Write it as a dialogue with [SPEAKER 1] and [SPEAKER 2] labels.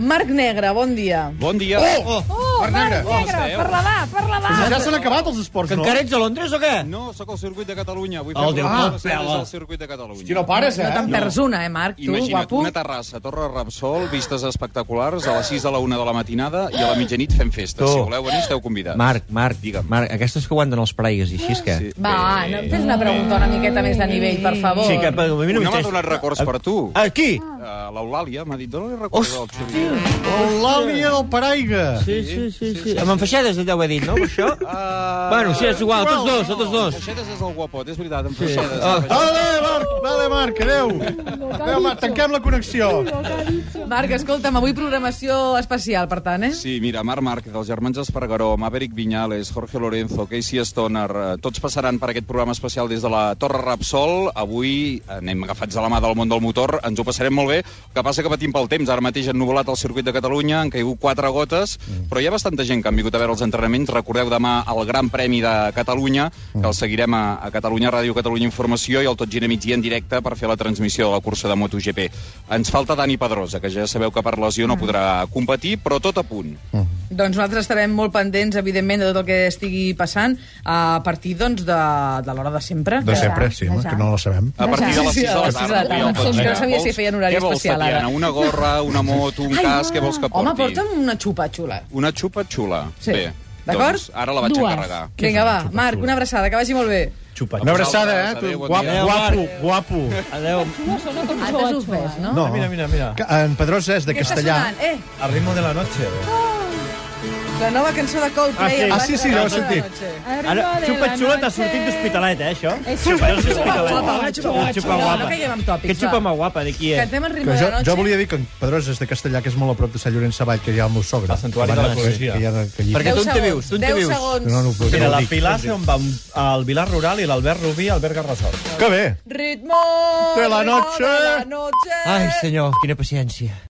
[SPEAKER 1] Marc Negre, bon dia.
[SPEAKER 2] Bon dia.
[SPEAKER 3] Oh!
[SPEAKER 1] Oh,
[SPEAKER 3] Marc Negre.
[SPEAKER 1] Marc Negre, per la mà, per la mà.
[SPEAKER 3] Ja s'han acabat els esports,
[SPEAKER 4] Que
[SPEAKER 3] no?
[SPEAKER 4] encara ets a Londres o què?
[SPEAKER 2] No, sóc al circuit de Catalunya. Vull
[SPEAKER 4] Oh,
[SPEAKER 2] fer
[SPEAKER 4] Déu,
[SPEAKER 2] ah,
[SPEAKER 4] no, pela.
[SPEAKER 2] al circuit de Catalunya.
[SPEAKER 3] Si no pares, eh?
[SPEAKER 1] No te'n perds una, eh, Marc? Tu,
[SPEAKER 2] Imagina't,
[SPEAKER 1] guapo.
[SPEAKER 2] una terrassa, Torre Rapsol, vistes espectaculars, a les 6 a la 1 de la matinada i a la mitjanit fem festa.
[SPEAKER 4] Tu.
[SPEAKER 2] Si voleu venir, esteu convidats.
[SPEAKER 4] Marc, Marc,
[SPEAKER 2] Digue'm.
[SPEAKER 4] Marc, aquestes que aguanten els praigues i així, és que... Sí,
[SPEAKER 2] Eh,
[SPEAKER 1] Va, no, fes una pregunta una miqueta més de nivell, per favor.
[SPEAKER 4] sí que per mi
[SPEAKER 2] No,
[SPEAKER 4] no,
[SPEAKER 2] no m'ha
[SPEAKER 4] m'interessa.
[SPEAKER 2] donat records per tu.
[SPEAKER 4] Aquí!
[SPEAKER 2] Uh, L'Eulàlia m'ha dit, dona-li records al Xuri.
[SPEAKER 3] Eulàlia Oh, del Paraiga.
[SPEAKER 4] Sí, sí, sí. sí. Amb enfaixades ja ho he dit, no, per això?
[SPEAKER 2] Uh,
[SPEAKER 4] Bueno, sí, és igual, tots dos, tots dos.
[SPEAKER 2] Feixedes és el guapot, és veritat, en eh, Feixedes.
[SPEAKER 4] Ah.
[SPEAKER 2] en Feixedes.
[SPEAKER 3] Vale, Marc, vale, Marc, adeu. Adéu, Marc, tanquem la connexió.
[SPEAKER 1] Marc, escolta'm, avui programació especial, per tant, eh?
[SPEAKER 2] Sí, mira, Marc Marc, dels germans Espargaró, Maverick Viñales, Jorge Lorenzo, Casey Stoner, eh, tots passaran per aquest programa especial des de la Torre Rapsol. Avui anem agafats de la mà del món del motor, ens ho passarem molt bé. El que passa que patim pel temps. Ara mateix han nuvolat el circuit de Catalunya, han caigut quatre gotes, Mm. però hi ha bastanta gent que han vingut a veure els entrenaments. Recordeu demà el Gran Premi de Catalunya, que el seguirem a, a Catalunya Ràdio, Catalunya Informació i el Tot Gira Migdia en directe per fer la transmissió de la cursa de MotoGP. Ens falta Dani Pedrosa, que ja sabeu que per lesió
[SPEAKER 1] Mm.
[SPEAKER 2] no podrà competir, però tot a punt.
[SPEAKER 1] Doncs nosaltres estarem molt pendents, evidentment, de tot el que estigui passant a partir, doncs, de, de l'hora de sempre.
[SPEAKER 3] De sempre, sí, home, que no la sabem.
[SPEAKER 2] A partir de les
[SPEAKER 1] Mm. Sí, sí,
[SPEAKER 2] 6 de
[SPEAKER 1] a
[SPEAKER 2] la
[SPEAKER 1] les sis de la
[SPEAKER 2] tarda.
[SPEAKER 1] tarda.
[SPEAKER 2] Oriol,
[SPEAKER 1] Sí, jo no sabia
[SPEAKER 2] vols-
[SPEAKER 1] si feien horari
[SPEAKER 2] què vols,
[SPEAKER 1] especial, ara.
[SPEAKER 2] Tatiana? Una gorra, una moto, un casc, què vols que porti?
[SPEAKER 1] Home, porta'm una xupa xula.
[SPEAKER 2] Una xupa xula.
[SPEAKER 1] Sí.
[SPEAKER 2] Bé,
[SPEAKER 1] D'acord?
[SPEAKER 2] doncs ara la vaig
[SPEAKER 5] Dues.
[SPEAKER 2] encarregar.
[SPEAKER 1] Vinga, va, Marc, una abraçada, que vagi molt bé.
[SPEAKER 4] Xupa.
[SPEAKER 3] Una abraçada, eh?
[SPEAKER 2] Adéu,
[SPEAKER 3] Tu,
[SPEAKER 2] bon
[SPEAKER 3] guapo,
[SPEAKER 2] dia.
[SPEAKER 3] guapo, guapo.
[SPEAKER 4] Adéu.
[SPEAKER 1] Ah, t'has ofès, no?
[SPEAKER 3] No,
[SPEAKER 4] Mira, mira, mira.
[SPEAKER 3] que en Pedrosa és de
[SPEAKER 1] Què està
[SPEAKER 3] castellà.
[SPEAKER 1] sonant? Eh, Oh.
[SPEAKER 4] A ritmo de la noche.
[SPEAKER 1] la nova cançó de Coldplay.
[SPEAKER 4] Ah, sí.
[SPEAKER 1] abans
[SPEAKER 3] Ah, sí, sí,
[SPEAKER 1] de
[SPEAKER 3] ja ho he
[SPEAKER 1] les onze de la
[SPEAKER 3] sentit.
[SPEAKER 1] noche.
[SPEAKER 4] Ara, xupa xula t'ha sortit d'hospitalet, eh, això? Xupa
[SPEAKER 1] Xupa guapa, xupa
[SPEAKER 4] Xupa
[SPEAKER 1] xula. No
[SPEAKER 4] guapa.
[SPEAKER 1] caiguem en
[SPEAKER 4] Que
[SPEAKER 1] tòpics,
[SPEAKER 4] xupa
[SPEAKER 1] va.
[SPEAKER 4] més guapa, de qui és?
[SPEAKER 1] Cantem el ritme
[SPEAKER 3] Que
[SPEAKER 1] de
[SPEAKER 3] jo,
[SPEAKER 1] la noche.
[SPEAKER 3] jo volia dir que en Pedrosa és de castellà, que és molt a prop de Sant Llorenç Savall, que hi ha el meu sogre. El
[SPEAKER 6] santuari de la poesia.
[SPEAKER 3] Que hi ha de, que hi...
[SPEAKER 4] Perquè
[SPEAKER 1] Deu
[SPEAKER 4] tu on te
[SPEAKER 1] segons,
[SPEAKER 4] vius? Tu on te
[SPEAKER 1] deu
[SPEAKER 4] vius?
[SPEAKER 1] segons.
[SPEAKER 3] No, no, ho-
[SPEAKER 6] Mira,
[SPEAKER 3] no,
[SPEAKER 6] la
[SPEAKER 3] ho dic.
[SPEAKER 6] Pilar se'n va al Vilar Rural i l'Albert Rubí al Berga Resort.
[SPEAKER 3] Que bé.
[SPEAKER 1] Ritmo
[SPEAKER 3] De la
[SPEAKER 1] ritmo
[SPEAKER 3] noche.
[SPEAKER 1] de la noche.
[SPEAKER 4] Ai, senyor, quina paciència.